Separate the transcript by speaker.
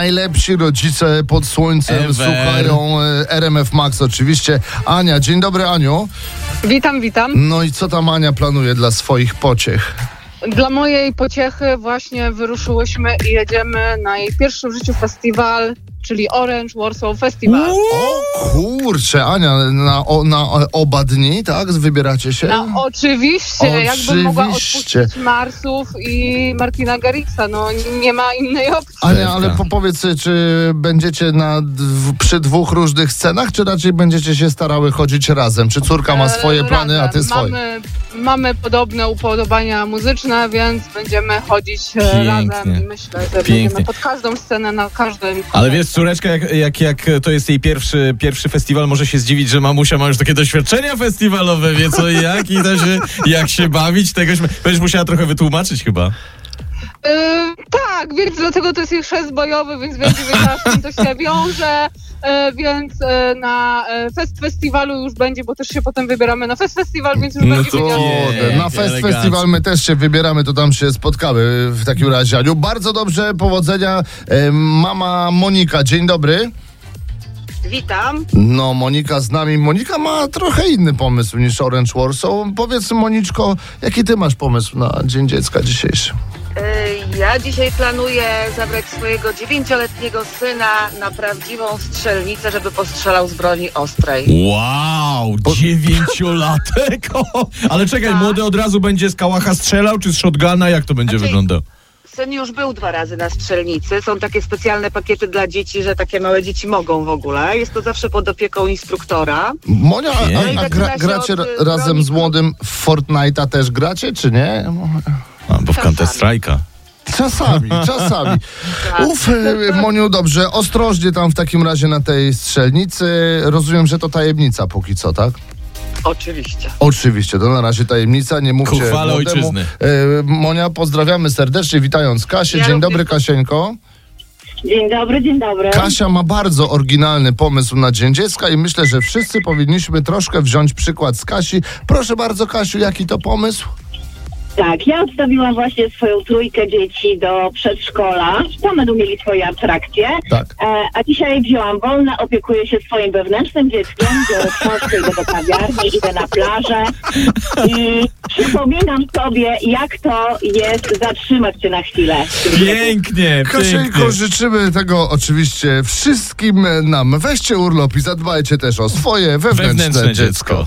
Speaker 1: Najlepsi rodzice pod słońcem
Speaker 2: Ever.
Speaker 1: słuchają e, RMF Max oczywiście. Ania, dzień dobry Aniu.
Speaker 3: Witam, witam.
Speaker 1: No i co tam Ania planuje dla swoich pociech?
Speaker 3: Dla mojej pociechy właśnie wyruszyłyśmy i jedziemy na jej pierwszy w życiu festiwal, czyli Orange Warsaw Festival.
Speaker 1: O kurczę, Ania, na, o, na o- oba dni, tak? Wybieracie się?
Speaker 3: No oczywiście, jakbym mogła
Speaker 1: Oczywiście.
Speaker 3: odpuścić Marsów i Martina Garrixa, no nie ma innej opcji.
Speaker 1: Ania,
Speaker 2: Pewka.
Speaker 1: ale po- powiedz, e, czy będziecie na, dw- przy dwóch różnych scenach, czy raczej będziecie się starały chodzić razem? Czy córka ma swoje
Speaker 3: E, Razem.
Speaker 1: plany, a ty swoje?
Speaker 3: Mamy, mamy podobne upodobania muzyczne, więc będziemy chodzić e,
Speaker 2: Pięknie.
Speaker 3: razem i myślę, że
Speaker 2: Pięknie.
Speaker 3: będziemy pod każdą scenę, na każdym...
Speaker 2: Ale wiesz, córeczka, jak, jak, jak to jest jej pierwszy, pierwszy festiwal, może się zdziwić, że mamusia ma już takie doświadczenia festiwalowe, wie co i jak, i da się, jak się bawić, tego się, będziesz musiała trochę wytłumaczyć chyba.
Speaker 3: E, tak, więc dlatego to jest ich szest bojowy, więc będzie wiedziała, z czym to się wiąże. E, więc e, na e, fest festiwalu już będzie, bo też się potem wybieramy na fest festiwal, więc już
Speaker 2: No
Speaker 3: będzie
Speaker 2: to-
Speaker 3: wiedziała.
Speaker 1: Kurde, na
Speaker 2: Pięknie,
Speaker 1: Fest
Speaker 2: elegancko.
Speaker 1: Festiwal my też się wybieramy, to tam się spotkamy w takim razie. Aniu, bardzo dobrze, powodzenia. E, Mama Monika, dzień dobry.
Speaker 4: Witam.
Speaker 1: No, Monika z nami. Monika ma trochę inny pomysł niż Orange Warsaw. Powiedz, Moniczko, jaki ty masz pomysł na Dzień Dziecka dzisiejszy?
Speaker 4: Y, Ja dzisiaj planuję zabrać swojego dziewięcioletniego syna na prawdziwą strzelnicę, żeby postrzelał z broni ostrej.
Speaker 2: Wow, dziewięciolatek! O, Ale czekaj, młody od razu będzie z kałacha strzelał, czy z shotguna, jak to będzie
Speaker 4: Znaczy-
Speaker 2: wyglądał?
Speaker 4: Syn już był dwa razy na strzelnicy. Są takie specjalne pakiety dla dzieci, że takie małe dzieci mogą w ogóle. Jest to zawsze pod opieką instruktora.
Speaker 1: Monia, a, a
Speaker 4: Pięknie.
Speaker 1: gra, gracie ra-
Speaker 4: Zaczyna tak się od, y,
Speaker 1: razem z
Speaker 4: broni.
Speaker 1: młodym w Fortnite'a też gracie, czy nie?
Speaker 2: A, bo w Counter Strike'a.
Speaker 1: Czasami, czasami. Uf, e, Moniu, dobrze, ostrożnie tam w takim razie na tej strzelnicy. Rozumiem, że to tajemnica póki co, tak?
Speaker 4: Oczywiście.
Speaker 1: Oczywiście, to na razie tajemnica, nie mówcie
Speaker 2: Ku chwale
Speaker 1: młodemu.
Speaker 2: ojczyzny.
Speaker 1: E, Monia, pozdrawiamy serdecznie, witając Kasię.
Speaker 4: Ja
Speaker 1: Dzień
Speaker 4: również.
Speaker 1: dobry, Kasieńko.
Speaker 5: Dzień dobry, dzień dobry.
Speaker 1: Kasia ma bardzo oryginalny pomysł na Dzień Dziecka i myślę, że wszyscy powinniśmy troszkę wziąć przykład z Kasi. Proszę bardzo, Kasiu, jaki to pomysł?
Speaker 5: Tak, ja odstawiłam właśnie swoją trójkę dzieci do przedszkola. Tam będą mieli swoje atrakcje.
Speaker 1: Tak.
Speaker 5: E, a dzisiaj wzięłam wolne, opiekuję się swoim wewnętrznym dzieckiem, biorę książkę, idę do kawiarni, idę na plażę i przypominam sobie, jak to jest zatrzymać się na chwilę.
Speaker 2: Pięknie, pięknie.
Speaker 1: Kasieńko, życzymy tego oczywiście wszystkim nam. Weźcie urlop i zadbajcie też o swoje wewnętrzne,
Speaker 2: Wewnętrzne
Speaker 1: dziecko.
Speaker 2: dziecko.